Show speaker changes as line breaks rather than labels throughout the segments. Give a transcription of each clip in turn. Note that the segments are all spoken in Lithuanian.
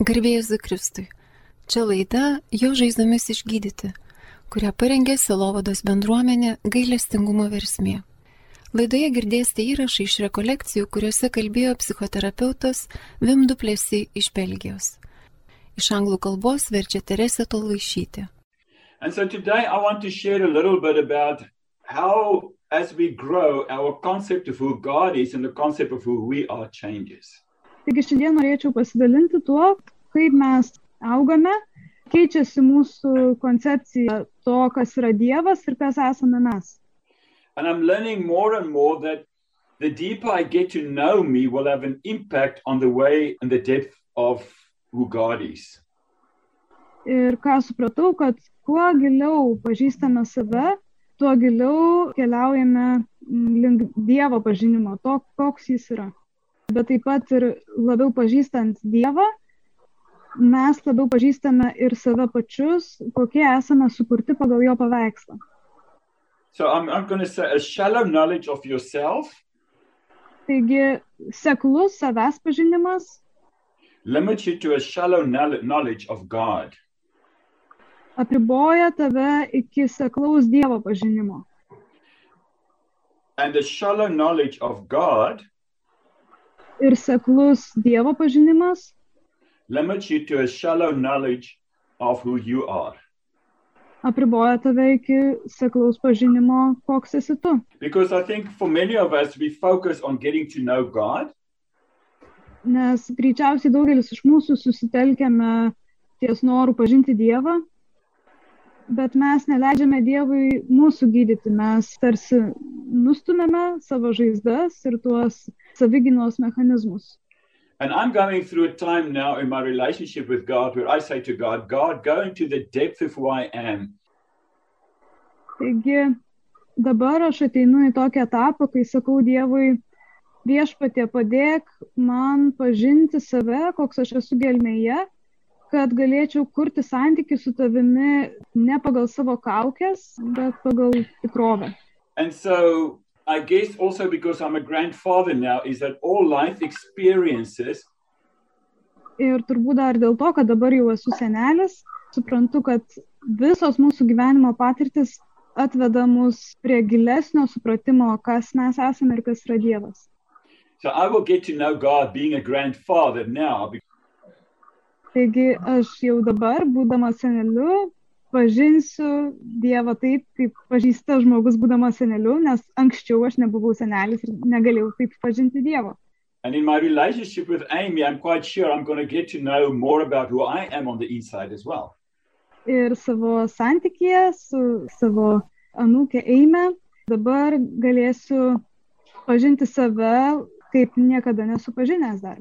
Garbėjus Zikristui. Čia laida Jo žaizdomis išgydyti, kurią parengė Silovados bendruomenė gailestingumo versmė. Laidoje girdėsite įrašą iš rekolekcijų, kuriuose kalbėjo psichoterapeutas Vim Duplesi iš Belgijos. Iš anglų kalbos verčia Teresė Tolaišytė.
And so today I want to share a little bit about how, as we grow, our concept of who God is and the concept of who we are changes.
Taigi šiandien norėčiau pasidalinti tuo, kaip mes augame, keičiasi mūsų koncepcija to, kas yra Dievas ir kas esame mes.
And I'm learning more and more that the deeper I get to know me will have an impact on the way and the depth of who God is.
Ir ką supratau, kad kuo giliau pažįstame save, tuo giliau keliaujame mm, link Dievo pažinimo, to, koks jis yra. Bet taip pat ir labiau pažįstant Dievą, mes labiau pažįstame ir save pačius, kokie esame sukurti pagal jo paveikslą.
So I'm, I'm going to say a shallow knowledge of yourself,
Taigi, seklus savęs pažinimas
limits you to a shallow knowl- knowledge of God.
apriboja tave iki seklaus Dievo pažinimo.
And a shallow knowledge of God
Ir seklus Dievo pažinimas
limits you to a shallow knowledge of who you are.
apriboja tave iki seklaus pažinimo, koks esi tu.
Because I think for many of us, we focus on getting to know God,
Nes greičiausiai daugelis iš mūsų susitelkėme ties noru pažinti Dievą, bet mes neleidžiame Dievui mūsų gydyti, mes tarsi nustumėme savo žaizdas ir tuos savigynos mechanizmus.
And I'm going through a time now in my relationship with God where I say to God, God, go into the depth of who I am.
Taigi dabar aš ateinu į tokį etapą, kai sakau Dievui, viešpatie padėk man pažinti save, koks aš esu gelmėje, kad galėčiau kurti santykių su tavimi ne pagal savo kaukės, bet pagal tikrovę.
And so I guess also because I'm a grandfather now, is that all life experiences
Ir turbūt dar dėl to, kad dabar jau esu senelis, suprantu, kad visos mūsų gyvenimo patirtis atveda mus prie gilesnio supratimo, kas mes esame ir kas yra Dievas.
so I will get to know God being a grandfather now. be-
Taigi aš jau dabar, būdamas seneliu, pažinsiu Dievą taip, kaip pažįsta žmogus būdamas seneliu, nes anksčiau aš nebuvau senelis ir negalėjau taip pažinti Dievo.
And in my relationship with Amy, I'm quite sure I'm going to get to know more about who I am on the inside as well.
Ir savo santykėje su savo anūkė Eime dabar galėsiu pažinti save, kaip niekada nesu pažinęs dar.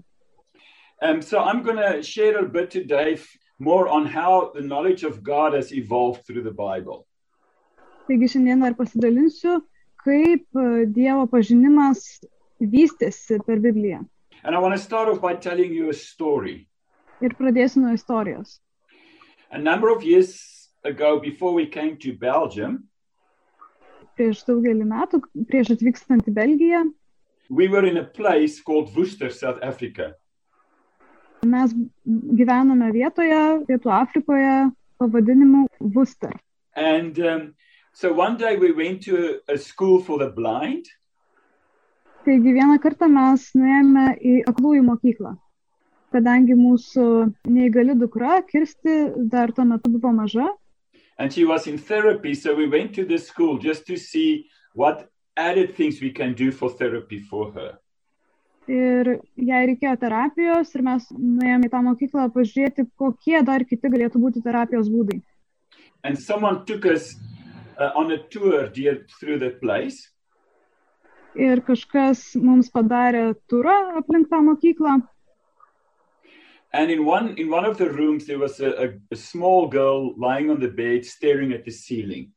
Um, so I'm going to share a bit today f- more on how the knowledge of God has evolved through the Bible.
Taigi šiandien dar pasidalinsiu, kaip e, Dievo pažinimas vystėsi per Bibliją.
And I want to start off by telling you a story.
Ir pradėsiu nuo istorijos.
A number of years ago, before we came to Belgium,
prieš daugelį metų, prieš atvykstant į Belgiją,
we were in a place called Worcester, South Africa.
mes gyvenome vietoje, Pietų Afrikoje, pavadinimu Worcester.
And um, so one day we went to a, a school for the blind,
Taigi vieną kartą mes nuėjome į aklųjų mokyklą, kadangi mūsų neįgali dukra, Kirsti, dar tuo metu buvo maža,
and she was in therapy. So we went to this school just to see what added things we can do for therapy for her.
Ir jai reikėjo terapijos ir mes nuėjome į tą mokyklą pažiūrėti, kokie dar kiti galėtų būti terapijos būdai.
And someone took us uh, on a tour dear, through the place.
Ir kažkas mums padarė turą aplink tą mokyklą
And in one, in one of the rooms, there was a, a, a small girl lying on the bed staring at the ceiling.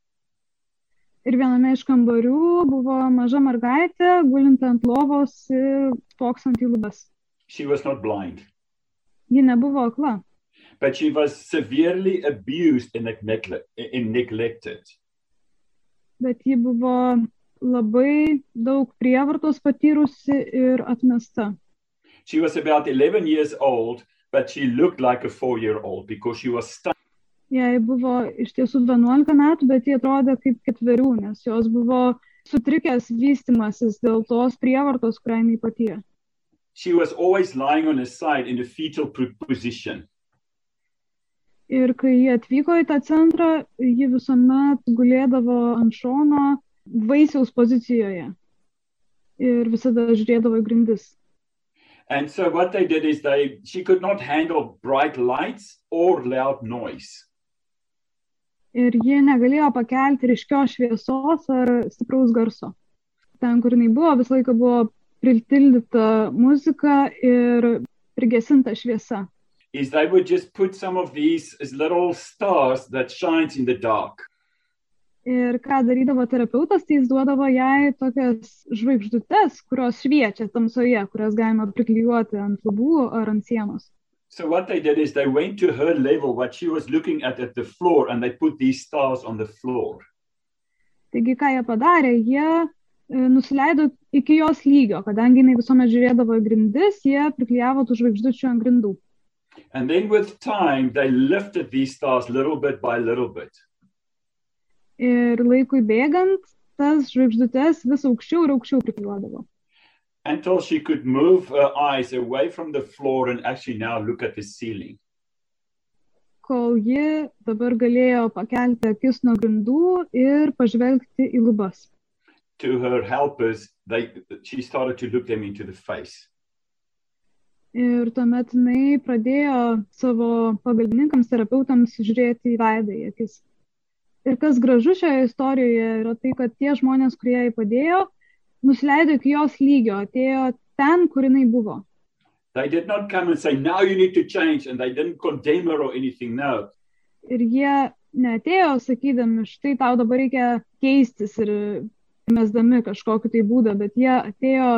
Ir viename iš kambarių buvo maža mergaitė, gulinti ant lovos ir toksant į lubas.
she was not blind,
Ji nebuvo akla,
but she was severely abused and negle- and neglected.
bet ji buvo labai daug prievartos patyrusi ir atmesta.
She was about 11 years old but she looked like a four year old because she was stunned.
Jai buvo iš tiesų 11 metų, bet jie atrodė kaip ketverių, nes jos buvo sutrikęs vystimasis dėl tos prievartos, kurią jinai patyrė.
She was always lying on her side in the fetal pr- position.
Ir kai jie atvyko į tą centrą, ji visuomet gulėdavo ant šono vaisiaus pozicijoje. Ir visada žiūrėdavo į grindis.
And so what they did is they she could not handle bright lights or loud noise.
Ir ji negalėjo pakelti ryškios šviesos ar stipraus garso. Ten, kur jinai buvo, visą laiką buvo pritildyta muzika ir prigesinta šviesa.
Is they would just put some of these as little stars that shines in the dark.
Ir ką darydavo terapeutas, tai jis duodavo jai tokias žvaigždutes, kurios šviečia tamsoje, kurias galima priklijuoti ant lubų ar ant sienos.
So what they did is they went to her level, what she was looking at at the floor, and they put these stars on the floor.
Taigi, ką jie padarė, jie e, nusileido iki jos lygio, kadangi jinai visuomet žiūrėdavo į grindis, jie priklijavo tų žvaigždučių ant grindų.
And then with time, they lifted these stars little bit by little bit.
Ir laikui bėgant, tas žvaigždutes vis aukščiau ir aukščiau priklijuodavo.
until she could move her eyes away from the floor and actually now look at the ceiling.
kol ji dabar galėjo pakelti akis nuo grindų ir pažvelgti į lubas.
To her helpers, they she started to look them into the face.
Ir tuomet jinai pradėjo savo pagalbininkams, terapeutams žiūrėti į veidą į akis. Ir kas gražu šioje istorijoje yra tai, kad tie žmonės, kurie jai padėjo, nusileido iki jos lygio, atėjo ten, kur jinai buvo.
They did not come and say, Now you need to change, and they didn't condemn her or anything. No.
Ir jie netėjo sakydami, štai tau dabar reikia keistis ir mesdami kažkokį tai būdą, bet jie atėjo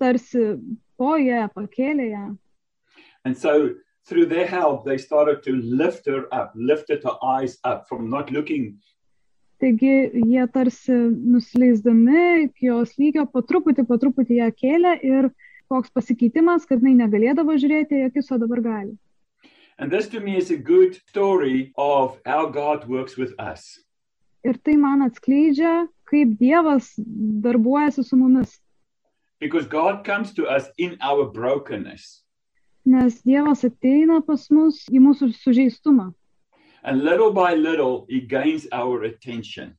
tarsi po ją, pakėlė ją.
And so through their help, they started to lift her up, lifted her eyes up from not looking.
Taigi jie tarsi nusileisdami iki jos lygio po truputį, po truputį ją kėlė ir koks pasikeitimas, kad jinai negalėdavo žiūrėti į akis, o dabar gali.
And this to me is a good story of how God works with us.
Ir tai man atskleidžia, kaip Dievas darbuojasi su mumis,
Because God comes to us in our brokenness.
nes Dievas ateina pas mus į mūsų sužeistumą.
And little by little, he gains our attention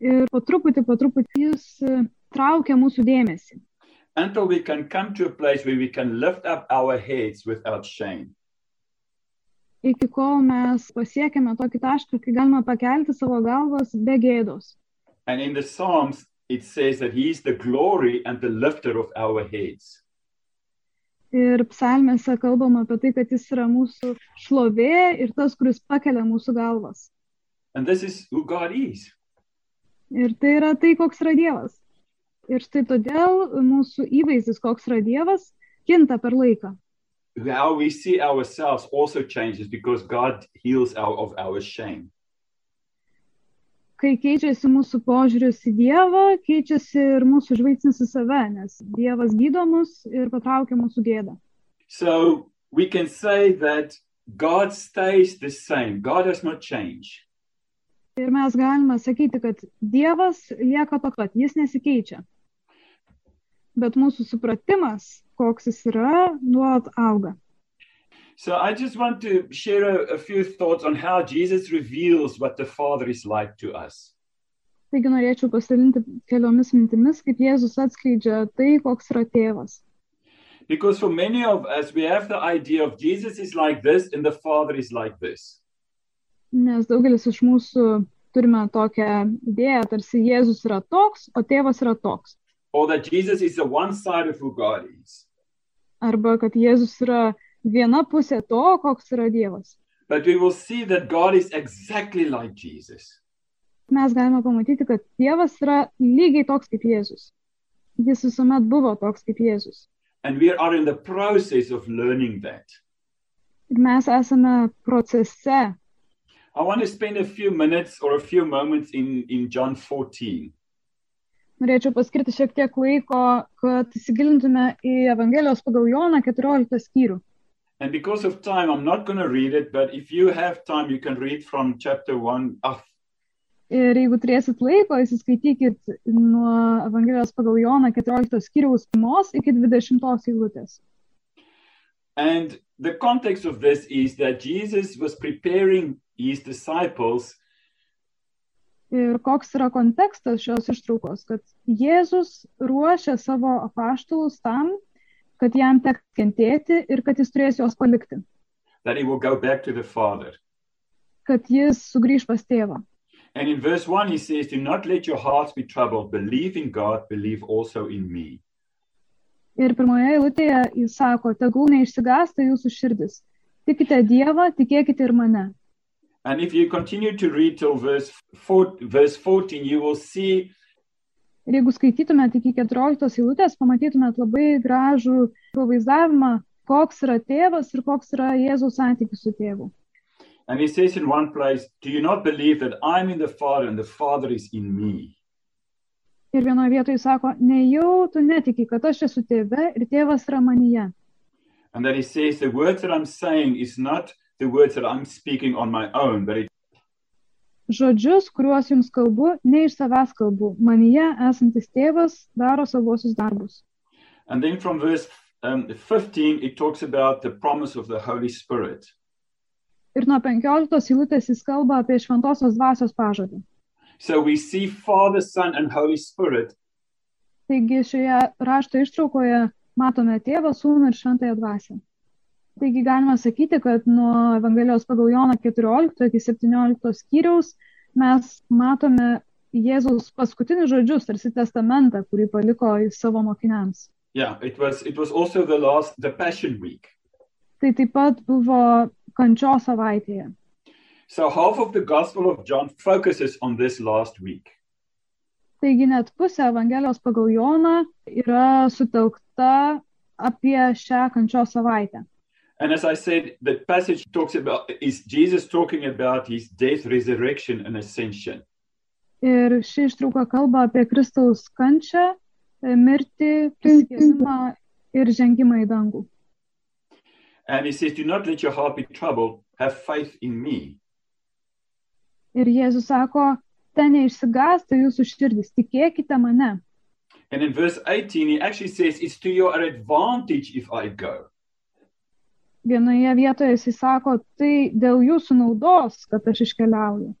Ir po truputį, po truputį jis e, traukia mūsų dėmesį.
until we can come to a place where we can lift up our heads without shame.
Iki kol mes pasiekime tokį tašką, kai galima pakelti savo galvas be gėdos.
And in the Psalms, it says that he is the glory and the lifter of our heads.
Ir psalmėse kalbama apie tai, kad jis yra mūsų šlovė ir tas, kuris pakelia mūsų galvas.
And this is who God is.
Ir tai yra tai, koks yra Dievas. Ir štai todėl mūsų įvaizdis, koks yra Dievas, kinta per laiką.
How we see ourselves also changes because God heals our, of our shame.
Kai keičiasi mūsų požiūris į Dievą, keičiasi ir mūsų žvaigznis į save, nes Dievas gydo mus ir patraukia mūsų gėdą.
So we can say that God stays the same, God does not change.
Ir mes galime sakyti, kad Dievas lieka toks pat, jis nesikeičia. Bet mūsų supratimas, koks jis yra, nuolat auga.
So I just want to share a, a few thoughts on how Jesus reveals what the Father is like to us.
Taigi norėčiau pasidalinti keliomis mintimis, kaip Jėzus atskleidžia tai, koks yra tėvas.
Because for many of us, we have the idea of Jesus is like this and the Father is like this.
Nes daugelis iš mūsų turime tokią idėją, tarsi Jėzus yra toks, o tėvas yra toks.
Or that Jesus is the one side of who God is.
Arba kad Jėzus yra viena pusė to, koks yra Dievas.
But we will see that God is exactly like Jesus.
Mes galime pamatyti, kad Dievas yra lygiai toks kaip Jėzus. Jis visuomet buvo toks kaip Jėzus.
And we are in the process of learning that.
Ir mes esame procese.
I want to spend a few minutes or a few moments in, in John 14.
Norėčiau paskirti šiek tiek laiko, kad įsigilintume į Evangelijos pagal Joną 14 skyrių.
And because of time, I'm not going to read it, but if you have time, you can read from chapter 1 up.
Ir jeigu turėsit laiko, įsiskaitykit nuo Evangelijos pagal Joną 14 skiriaus 1 iki 20 eilutės.
And the context of this is that Jesus was preparing his disciples
Ir koks yra kontekstas šios ištraukos, kad Jėzus ruošia savo apaštalus tam, kad jam teks kentėti ir kad jis turės juos palikti,
that he will go back to the Father.
kad jis sugrįž pas tėvą.
And in verse 1, he says, Do not let your hearts be troubled. Believe in God, believe also in me.
Ir pirmoje eilutėje jis sako, tegul neišsigąsta jūsų širdis. Tikite Dievą, tikėkite ir mane.
And if you continue to read till verse, four, verse 14, you will see
Ir jeigu skaitytumėt iki 14 eilutės, pamatytumėt labai gražų pavaizdavimą, koks yra tėvas ir koks yra Jėzaus santykis su tėvu.
And he says in one place, Do you not believe that I'm in the Father and the Father is in me?
Ir vienoje vietoje jis sako, nejau tu netiki, kad aš esu tėve ir tėvas yra manyje.
And then he says, The words that I'm saying is not the words that I'm speaking on my own, but it,
Žodžius, kuriuos jums kalbu, ne iš savęs kalbu. Manyje esantis tėvas daro savosius darbus.
and then from verse um, 15, it talks about the promise of the Holy Spirit.
Ir nuo 15 eilutės jis kalba apie šventosios dvasios pažadą.
So we see Father, Son, and Holy Spirit,
Taigi šioje rašto ištraukoje matome tėvą, sūnų ir šventąją dvasę. Taigi galima sakyti, kad nuo Evangelijos pagal Joną 14 iki 17 skyriaus mes matome Jėzaus paskutinius žodžius, tarsi testamentą, kurį paliko jis savo mokiniams.
yeah, it was it was also the last the Passion Week.
Tai taip pat buvo kančio savaitėje.
So half of the Gospel of John focuses on this last week.
Taigi net pusė Evangelijos pagal Joną yra sutelkta apie šią kančio savaitę.
And as I said, the passage talks about is Jesus talking about his death, resurrection, and ascension.
Ir ši ištrauka kalba apie Kristaus kančią, e, mirtį, prisikėlimą ir žengimą į dangų.
And he says, Do not let your heart be troubled. Have faith in me.
Ir Jėzus sako, ten neišsigąsta jūsų širdis, tikėkite mane.
And in verse 18, he actually says, It's to your advantage if I go.
Vienoje vietoje jis sako, tai dėl jūsų naudos, kad aš iškeliauju.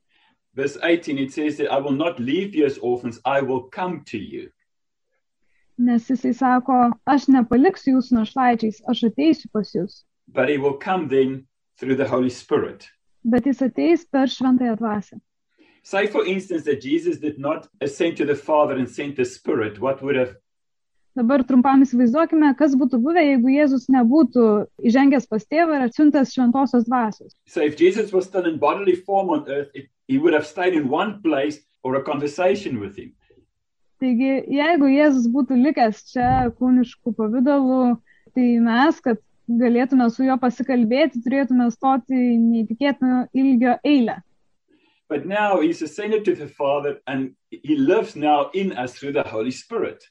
Verse 18, it says that I will not leave you as orphans, I will come to you.
Nes jisai sako, aš nepaliksiu jūsų našlaičiais, aš ateisiu pas jūs.
But he will come then through the Holy Spirit.
Bet jis ateis per šventąją dvasę.
Say, for instance, that Jesus did not ascend to the Father and sent the Spirit. What would have
Dabar trumpam įsivaizduokime, kas būtų buvę, jeigu Jėzus nebūtų įžengęs pas tėvą ir atsiuntęs šventosios dvasios.
So if Jesus was still in bodily form on earth, it, he would have stayed in one place or a conversation with him.
Taigi, jeigu Jėzus būtų likęs čia kūniškų pavydalų, tai mes, kad galėtume su juo pasikalbėti, turėtume stoti į neįtikėtino ilgio eilę.
But now he's ascended to the Father and he lives now in us through the Holy Spirit.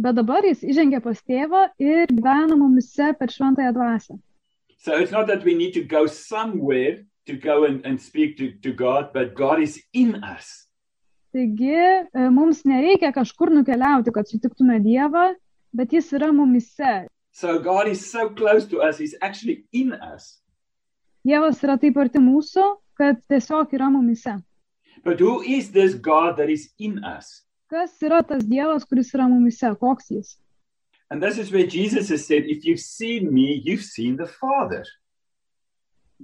Bet dabar jis įžengė pas tėvą ir gyvena mumise per šventąją dvasę.
So it's not that we need to go somewhere to go and, and speak to, to God, but God is in us.
Taigi, e, mums nereikia kažkur nukeliauti, kad sutiktume Dievą, bet jis yra mumise.
So God is so close to us, he's actually in us.
Dievas yra taip arti mūsų, kad tiesiog yra mumise.
But who is this God that is in us?
Kas yra tas Dievas, kuris yra mumise, koks jis?
And this is where Jesus has said, If you've seen me, you've seen the Father.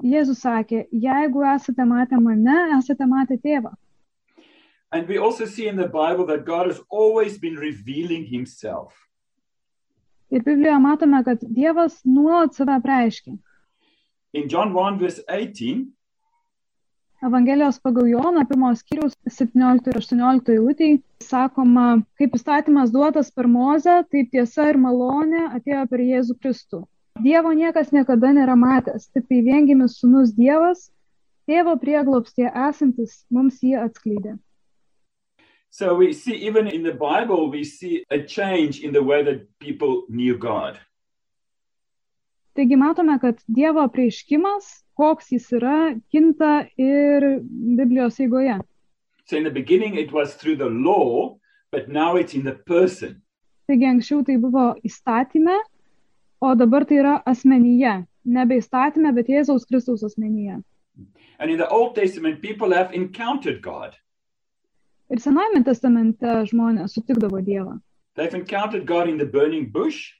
Jėzus sakė, jeigu esate matę mane, esate matę tėvą.
And we also see in the Bible that God has always been revealing himself.
Ir Biblijoje matome, kad Dievas nuolat save preiškia.
In John 1, verse 18,
Evangelijos pagal Joną, pirmos skyriaus 17 ir 18 eilutėje sakoma, kaip įstatymas duotas per Mozę, taip tiesa ir malonė atėjo per Jėzų Kristų. Dievo niekas niekada nėra matęs, tik tai viengimis sunus Dievas, tėvo prieglopstie esantis mums jį atskleidė.
so we see even in the Bible, we see a change in the way that people knew God.
Taigi matome, kad Dievo prieiškimas, koks jis yra, kinta ir Biblijos eigoje.
So in the beginning, it was through the law, but now it's in the person.
Taigi anksčiau tai buvo įstatymė, o dabar tai yra asmenyje. Nebe įstatymė, bet Jėzaus Kristaus asmenyje.
And in the Old Testament, people have encountered God.
Ir Senajame testamente žmonės sutikdavo Dievą.
They've encountered God in the burning bush,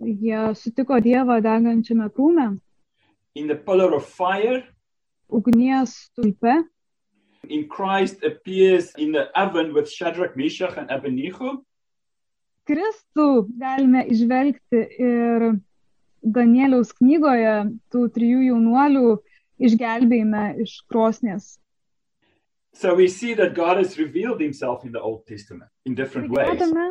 Jie sutiko Dievą degančiame krūme,
in the pillar of fire.
ugnies tulpe,
In Christ appears in the oven with Shadrach, Meshach, and Abednego.
Kristų galime išvelgti ir Danieliaus knygoje tų trijų jaunuolių išgelbėjime iš krosnės.
So we see that God has revealed himself in the Old Testament in different
Taigi
ways.
Matome,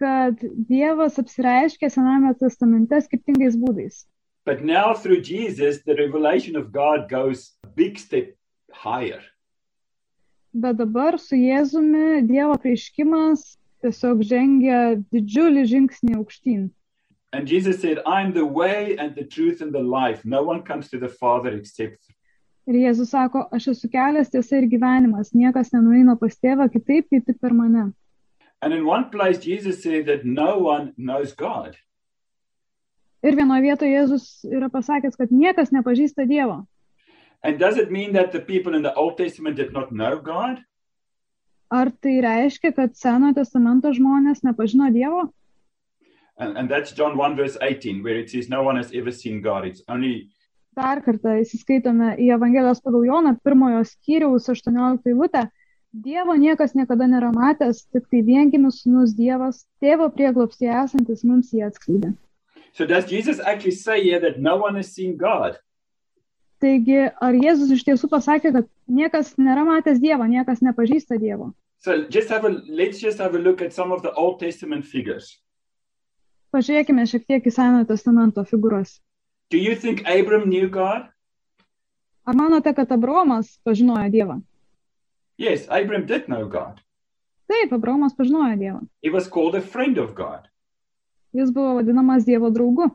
kad Dievas apsireiškia Sename testamente skirtingais būdais.
But now through Jesus, the revelation of God goes a big step higher.
Bet dabar su Jėzumi Dievo prieškimas tiesiog žengia didžiulį žingsnį aukštyn.
And Jesus said, I'm the way and the truth and the life. No one comes to the Father except
Ir Jėzus sako, aš esu kelias, tiesa ir gyvenimas, niekas nenueina pas tėvą kitaip, kaip tik per mane.
And in one place, Jesus said that no one knows God.
Ir vienoje vietoje Jėzus yra pasakęs, kad niekas nepažįsta Dievo.
And does it mean that the people in the Old Testament did not know God?
Ar tai reiškia, kad Senojo testamento žmonės nepažino Dievo?
And, and that's John 1, verse 18, where it says, No one has ever seen God. It's only
Dar kartą įsiskaitome į Evangelijos pagal Joną, pirmojo skyriaus 18 eilutę. Dievo niekas niekada nėra matęs, tik tai vienkimis sunus Dievas, tėvo prieglopstie esantis mums jį atskleidė.
so. Does Jesus actually say here that no one has seen God?
Taigi, ar Jėzus iš tiesų pasakė, kad niekas nėra matęs Dievo, niekas nepažįsta Dievo?
So just have a let's just have a look at some of the Old Testament figures.
Pažiūrėkime šiek tiek į Senojo testamento figūras.
Do you think Abram knew God?
Ar manote, kad Abromas pažinojo Dievą?
Yes, Abram did know God.
Taip, Abromas pažinojo Dievą.
He was called a friend of God.
Jis buvo vadinamas Dievo draugu.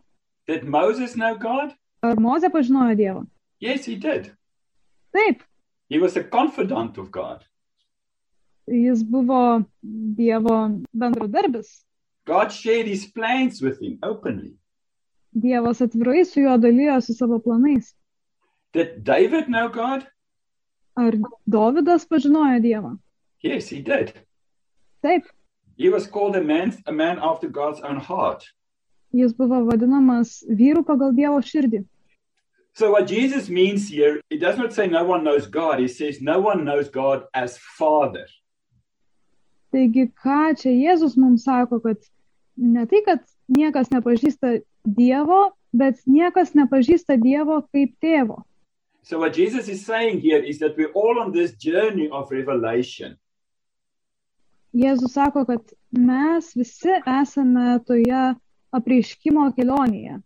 Did Moses know God?
Ar Moze pažinojo Dievą?
Yes, he did.
Taip,
He was a confidant of God.
jis buvo Dievo bendradarbis.
God shared his plans with him openly.
Dievas atvirai su juo dalyjosi savo planais.
Did David know God?
Ar Dovydas pažinojo Dievą?
Yes, he did.
Taip,
He was called a man, a man after God's own heart.
jis buvo vadinamas vyru pagal Dievo širdį.
So what Jesus means here, he does not say no one knows God. He says no one knows God as Father.
Taigi, ką čia Jėzus mums sako, kad ne tai, kad niekas nepažįsta Dievo, bet niekas nepažįsta Dievo kaip tėvo.
So what Jesus is saying here is that we're all on this journey of revelation.
Jėzus sako, kad mes visi esame toje apreiškimo kelionėje.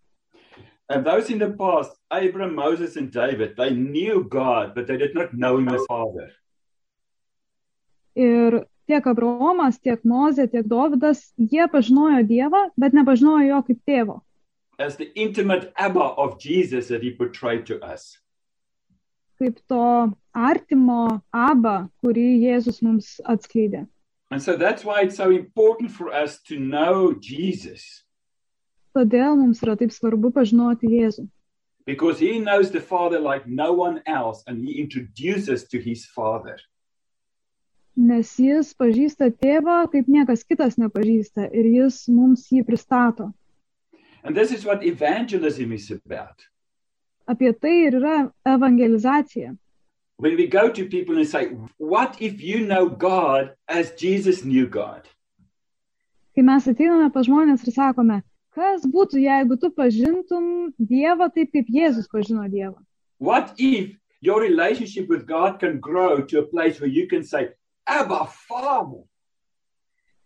And those in the past, Abraham, Moses, and David, they knew God, but they did not know him as Father.
Ir tiek Abraomas, tiek Mozė, tiek Dovydas, jie pažinojo Dievą, bet nepažinojo jo kaip tėvo.
As the intimate Abba of Jesus that he portrayed to us.
Kaip to artimo abą, kurį Jėzus mums atskleidė.
And so that's why it's so important for us to know Jesus,
Todėl mums yra taip svarbu pažinoti Jėzų.
because he knows the Father like no one else, and he introduces us to his Father.
Nes jis pažįsta tėvą, kaip niekas kitas nepažįsta ir jis mums jį pristato.
And this is what evangelism is about.
Apie tai ir yra evangelizacija.
When we go to people and say, What if you know God as Jesus knew God?
Kai mes ateiname pas žmonės ir sakome, kas būtų, jeigu tu pažintum Dievą taip, kaip Jėzus pažino Dievą.
What if your relationship with God can grow to a place where you can say, Abba, Father?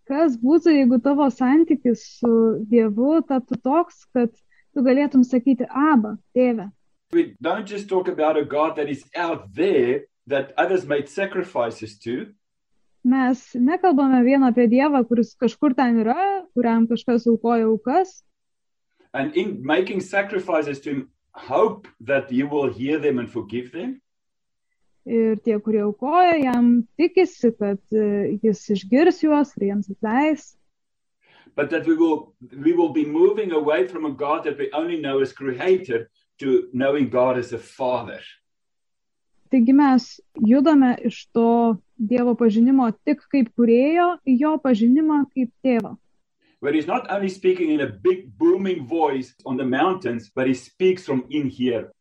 Kas būtų, jeigu tavo santykis su Dievu taptų toks, kad tu galėtum sakyti abą, tėvę.
We don't just talk about a God that is out there that others made sacrifices to,
Mes nekalbame vien apie Dievą, kuris kažkur ten yra, kuriam kažkas aukoja aukas,
and in making sacrifices to Him, hope that He will hear them and forgive them.
Ir tie, kurie aukoja, jam tikisi, kad e, jis išgirs juos ir jiems atleis.
but that we will we will be moving away from a God that we only know as creator to knowing God as a father.
Taigi mes judame iš to Dievo pažinimo tik kaip kurėjo į jo pažinimą kaip tėvą.
Where he's not only speaking in a big booming voice on the mountains, but he speaks from in here.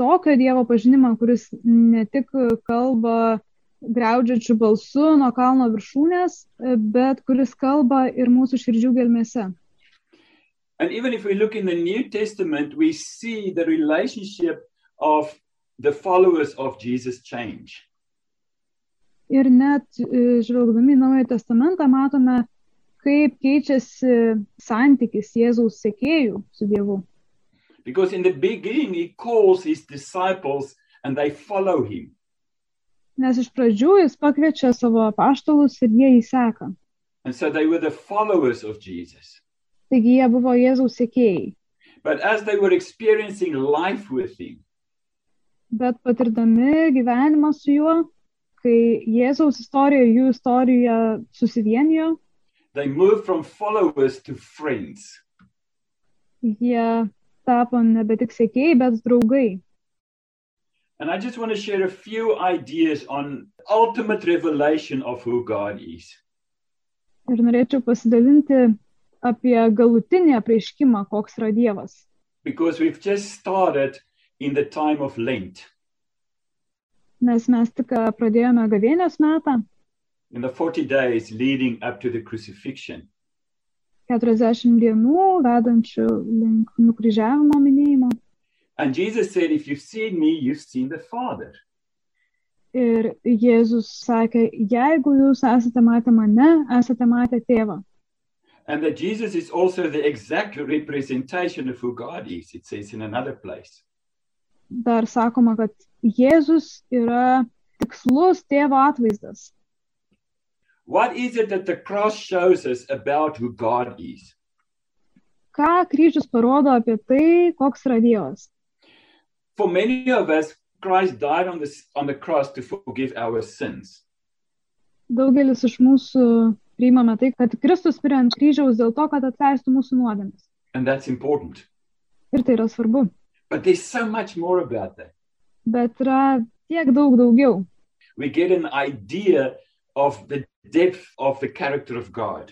Tokio Dievo pažinimą, kuris ne tik kalba greudžiančių balsų nuo kalno viršūnės, e, bet kuris kalba ir mūsų širdžių gelmėse.
And even if we look in the New Testament, we see the relationship of the followers of Jesus change.
Ir net e, žvelgdami į Naująjį Testamentą matome, kaip keičiasi santykis Jėzaus sekėjų su Dievu.
Because in the beginning he calls his disciples and they follow him.
Nes iš pradžių jis pakviečia savo paštalus ir jie jį seka.
And so they were the followers of Jesus.
Taigi jie buvo Jėzaus sekėjai.
But as they were experiencing life with him,
Bet patirdami gyvenimą su juo, kai Jėzaus istorija ir jų istorija susivienijo,
they moved from followers to friends.
jie tapo nebe tik sekėjai, bet draugai.
And I just want to share a few ideas on ultimate revelation of who God is.
Ir norėčiau pasidalinti apie galutinį apreiškimą, koks yra Dievas.
Because we've just started in the time of Lent,
Nes mes tik ką pradėjome gavėnios metą,
in the 40 days leading up to the crucifixion.
40 dienų vedančių link nukryžiavimo minėjimo.
And Jesus said, If you've seen me, you've seen the Father.
Ir Jėzus sakė, jeigu jūs esate matę mane, esate matę tėvą.
And that Jesus is also the exact representation of who God is, it says in another place.
Dar sakoma, kad Jėzus yra tikslus tėvo atvaizdas.
What is it that the cross shows us about who God is?
Ką kryžius parodo apie tai, koks yra Dievas?
For many of us, Christ died on the, on the cross to forgive our sins.
Daugelis iš mūsų priimame tai, kad Kristus mirė ant kryžiaus dėl to, kad atleistų mūsų nuodėmes.
And that's important.
Ir tai yra svarbu.
But there's so much more about that.
Bet yra tiek daug daugiau.
We get an idea of the depth of the character of God.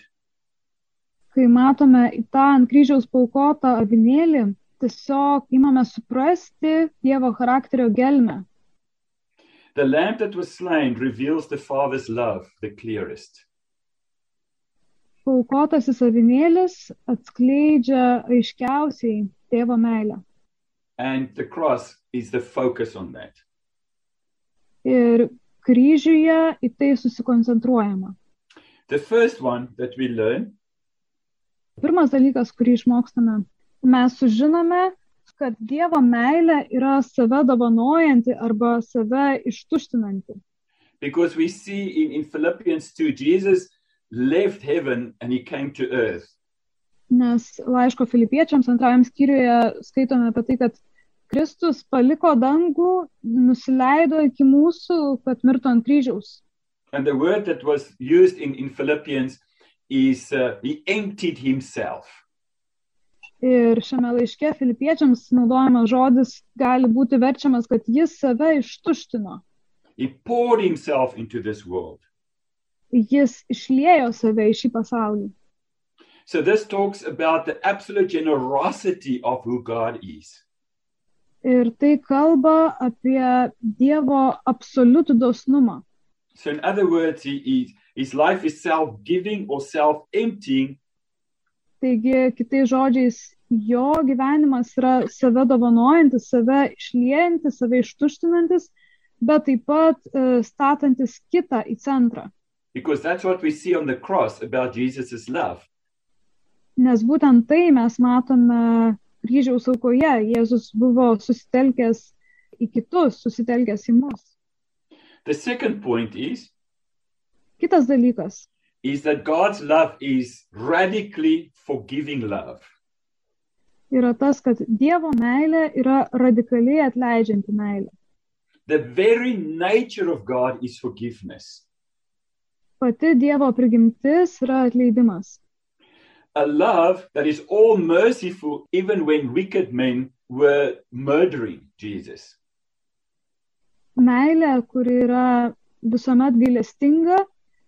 Kai matome į tą ant kryžiaus paukotą avinėlį, tiesiog imame suprasti Dievo charakterio gelmę.
The lamb that was slain reveals the Father's love the clearest.
Paukotasis avinėlis atskleidžia aiškiausiai tėvo meilę.
And the cross is the focus on that.
Ir kryžiuje į tai susikoncentruojama.
The first one that we learn
Pirmas dalykas, kurį išmokstame, mes sužinome, kad Dievo meilė yra save dovanojanti arba save ištuštinanti.
because we see in, in Philippians 2, Jesus left heaven and he came to earth.
Nes laiško filipiečiams antrajam skyriuje skaitome apie tai, kad Kristus paliko dangų, nusileido iki mūsų, kad mirtų ant kryžiaus.
And the word that was used in, in Philippians is uh, he emptied himself.
Ir šiame laiške filipiečiams naudojamas žodis gali būti verčiamas, kad jis save ištuštino.
He poured himself into this world.
Jis išliejo save į šį pasaulį.
So this talks about the absolute generosity of who God is.
Ir tai kalba apie Dievo absoliutų dosnumą.
So in other words, he, he, his life is self-giving or self-emptying,
Taigi, kitais žodžiais, jo gyvenimas yra save dovanojantis, save išliejantis, save ištuštinantis, bet taip pat e, statantis kitą į centrą.
because that's what we see on the cross about Jesus' love.
Nes būtent tai mes matome kryžiaus aukoje. Jėzus buvo susitelkęs į kitus, susitelkęs į mus.
The second point is,
Kitas dalykas.
is that God's love is radically forgiving love.
yra tas, kad Dievo meilė yra radikaliai atleidžianti meilė.
The very nature of God is forgiveness.
Pati Dievo prigimtis yra atleidimas.
A love that is all merciful, even when wicked men were murdering Jesus.
Meilė, kuri yra visuomet gailestinga,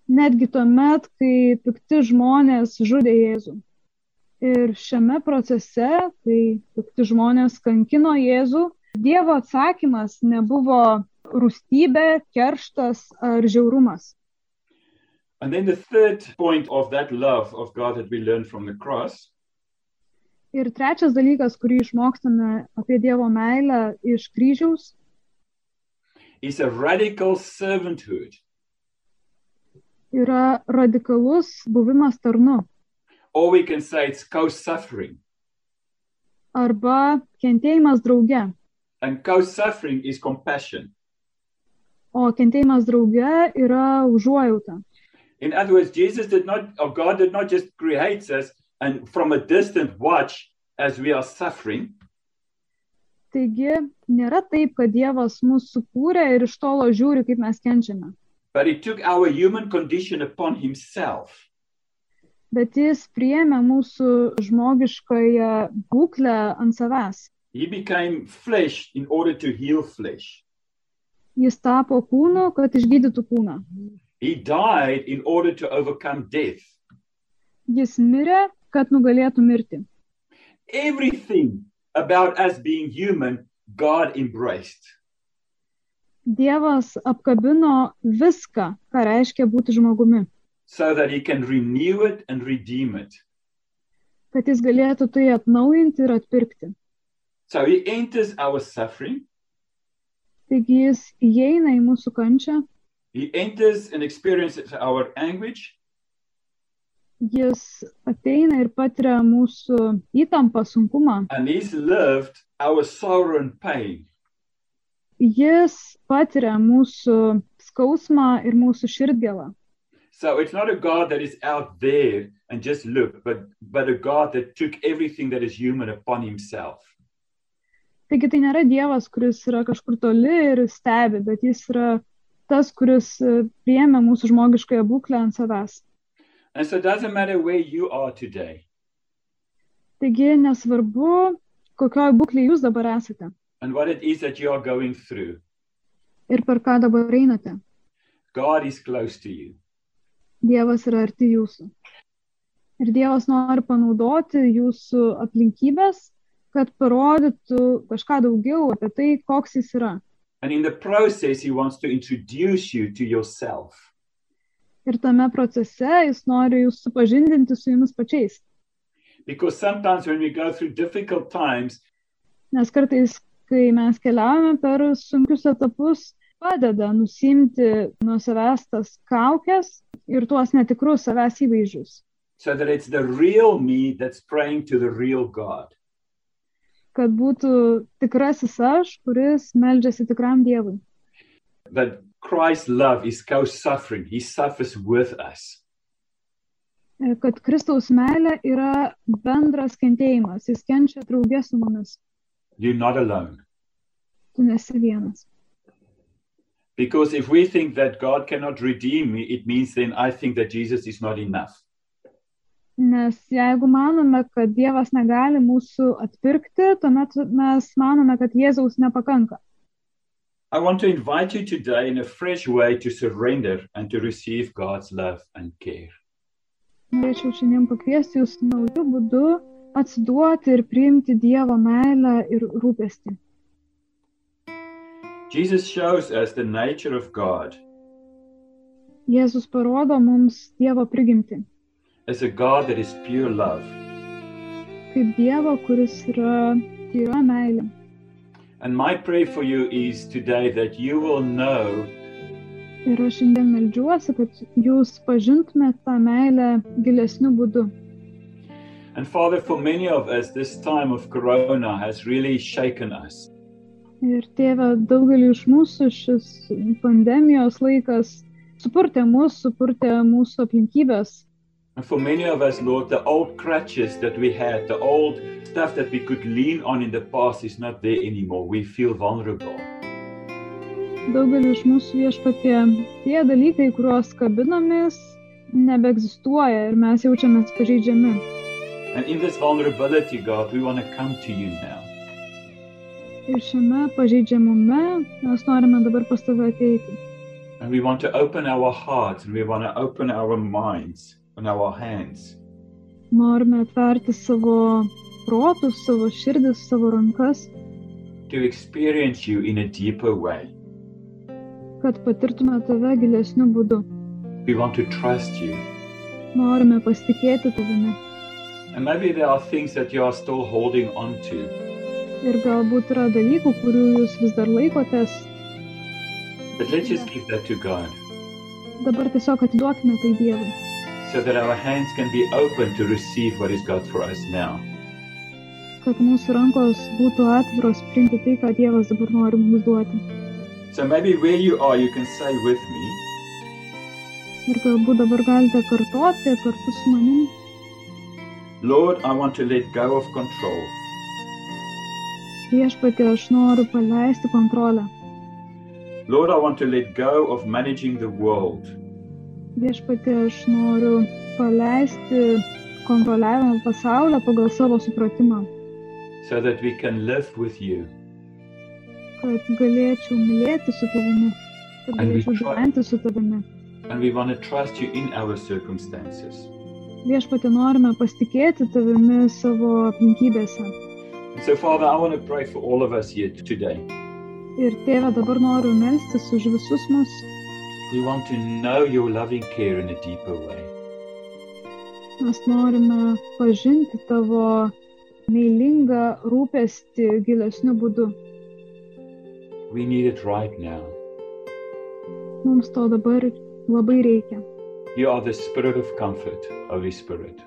netgi tuomet, kai pikti žmonės žudė Jėzų. Ir šiame procese, kai pikti žmonės kankino Jėzų, Dievo atsakymas nebuvo rūstybė, kerštas ar žiaurumas.
And then the third point of that love of God that we learn from the cross
Ir trečias dalykas, kurį išmokstame apie Dievo meilę iš kryžiaus,
is a radical servanthood
yra radikalus buvimas tarnu
or we can say it's co-suffering.
arba kentėjimas drauge.
And co-suffering is compassion.
O kentėjimas drauge yra užuojauta.
In other words, Jesus did not, or God did not just create us and from a distant watch as we are suffering,
Taigi nėra taip, kad Dievas mus sukūrė ir iš tolo žiūri, kaip mes kenčiame.
but He took our human condition upon Himself.
Bet Jis priėmė mūsų žmogiškąją būklę ant savęs.
He became flesh in order to heal flesh.
Jis tapo kūnu, kad išgydytų kūną.
He died in order to overcome death.
Jis mirė, kad nugalėtų mirti.
Everything about us being human, God embraced.
Dievas apkabino viską, ką reiškia būti žmogumi,
so that he can renew it and redeem it.
kad jis galėtų tai atnaujinti ir atpirkti.
So he enters our suffering,
Taigi jis įeina į mūsų kančią,
he enters and experiences our anguish,
jis ateina ir patiria mūsų įtampą, sunkumą,
and he's lived our sorrow and pain.
jis patiria mūsų skausmą ir mūsų širdgėlą.
So it's not a God that is out there and just look, but, but a God that took everything that is human upon himself.
Taigi tai nėra Dievas, kuris yra kažkur toli ir stebi, bet jis yra tas, kuris e, priėmė mūsų žmogiškąją būklę ant savęs.
And so it doesn't matter where you are today
Taigi nesvarbu, kokioj būklėje jūs dabar esate
and what it is that you are going through,
ir per ką dabar einate,
God is close to you.
Dievas yra arti jūsų. Ir Dievas nori panaudoti jūsų aplinkybės, kad parodytų kažką daugiau apie tai, koks jis yra.
And in the process, he wants to introduce you to yourself.
Ir tame procese jis nori jūs supažindinti su jumis pačiais.
Because sometimes when we go through difficult times,
Nes kartais, kai mes keliaujame per sunkius etapus, padeda nusimti nuo savęs tas kaukės ir tuos netikrus savęs įvaizdžius,
so that it's the real me that's praying to the real God.
kad būtų tikrasis aš, kuris meldžiasi tikram Dievui.
That Christ's love is co suffering, He suffers with us.
Ir e, Kad Kristaus meilė yra bendras kentėjimas, jis kenčia draugė su mumis,
You're not alone.
tu nesi vienas.
Because if we think that God cannot redeem me, it means then I think that Jesus is not enough.
Nes jeigu manome, kad Dievas negali mūsų atpirkti, tuomet mes manome, kad Jėzaus nepakanka.
I want to invite you today in a fresh way to surrender and to receive God's love and care.
Norėčiau šiandien pakviesti jūs naujų būdų atsiduoti ir priimti Dievo meilę ir rūpestį.
Jesus shows us the nature of God
Jėzus parodo mums Dievo prigimtį,
as a God that is pure love.
kaip Dievo, kuris yra tyra meilė.
And my prayer for you is today that you will know
Ir aš šiandien melžiuosi, kad jūs pažintumėte tą meilę gilesniu būdu.
And Father, for many of us, this time of Corona has really shaken us.
Ir tėve, daugelį iš mūsų šis pandemijos laikas supurtė mus, supurtė mūsų aplinkybės.
And for many of us, Lord, the old crutches that we had, the old stuff that we could lean on in the past is not there anymore. We feel vulnerable.
Daugeliu iš mūsų viešpatie tie dalykai, kuriuos kabinomės, nebeegzistuoja ir mes jaučiamės pažeidžiami.
And in this vulnerability, God, we want to come to you now.
Ir šiame pažeidžiamume mes norime dabar pas tave ateiti.
And we want to open our hearts and we want to open our minds and our hands.
Norime atverti savo protus, savo širdis, savo rankas,
to experience you in a deeper way.
kad patirtume tave gilesniu būdu.
We want to trust you.
Norime pasitikėti tavimi.
And maybe there are things that you are still holding on to.
Ir galbūt yra dalykų, kurių jūs vis dar laikotės.
But let's just give that to God
Dabar tiesiog atiduokime tai Dievui,
so that our hands can be open to receive what is God for us now.
kad mūsų rankos būtų atviros priimti tai, ką Dievas dabar nori mums duoti.
So maybe where you are, you can say with me,
Ir galbūt dabar galite kartoti kartu su manim,
Lord, I want to let go of control.
viešpatė, aš noriu paleisti kontrolę.
Lord, I want to let go of managing the world.
Viešpatė, aš noriu paleisti kontroliavimą pasaulio pagal savo supratimą,
So that we can live with you.
kad galėčiau mylėti su tavimi, kad
And we
galėčiau
try-
gyventi su tavimi.
And we want to trust you in our circumstances.
Viešpatė, norime pasitikėti tavimi savo aplinkybėse.
And so, Father, I want to pray for all of us here today.
Ir tėve, dabar noriu melstis už visus mus.
We want to know your loving care in a deeper way.
Mes norime pažinti tavo meilingą rūpestį gilesniu būdu.
We need it right now.
Mums to dabar labai reikia.
You are the Spirit of comfort, Holy Spirit.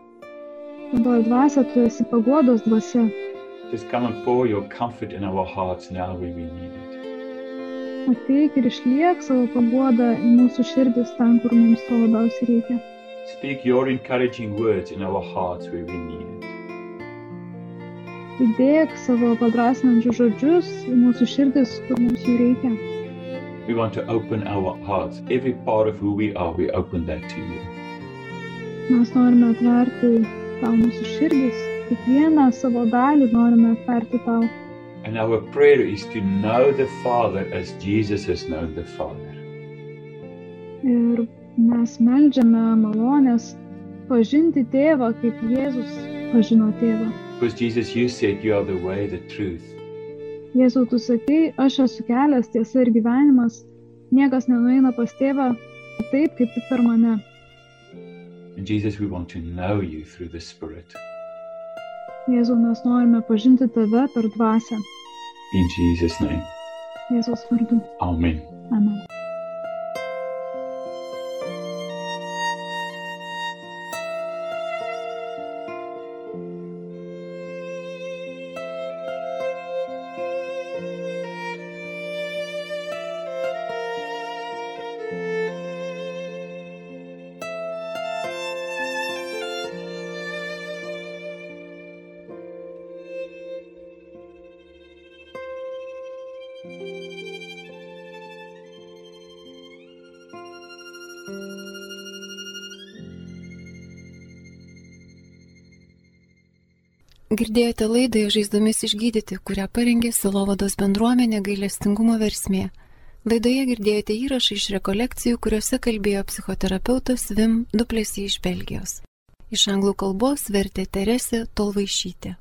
Šventoji dvasia, tu esi paguodos dvasia.
Just come and pour your comfort in our hearts now when we need it.
Ateik ir išliek savo paguodą į mūsų širdis ten, kur mums to labiausiai reikia.
Speak your encouraging words in our hearts where we need it.
Įdėk savo padrasinančius žodžius į mūsų širdis, kur mums jų reikia.
We want to open our hearts. Every part of who we are, we open that to you.
Mes norime atverti tau mūsų širdis. Kiekvieną savo dalį norime atverti tau.
And our prayer is to know the Father as Jesus has known the Father.
Ir mes melžiame malonės pažinti tėvą, kaip Jėzus pažino tėvą.
Because Jesus, you said you are the way, the truth,
Jėzau, tu sakei, aš esu kelias, tiesa ir gyvenimas. Niekas nenueina pas tėvą taip, kaip tik per mane.
And Jesus, we want to know you through the Spirit.
Jėzau, mes norime pažinti tave per dvasę.
In Jesus' name.
Jėzaus vardu.
Amen.
Amen.
Girdėjote laidą Žaizdomis išgydyti, kurią parengė Silovados bendruomenė gailestingumo versmė. Laidoje girdėjote įrašą iš rekolekcijų, kuriuose kalbėjo psichoterapeutas Vim Duplesy iš Belgijos. Iš anglų kalbos vertė Teresė Tolvaišytė.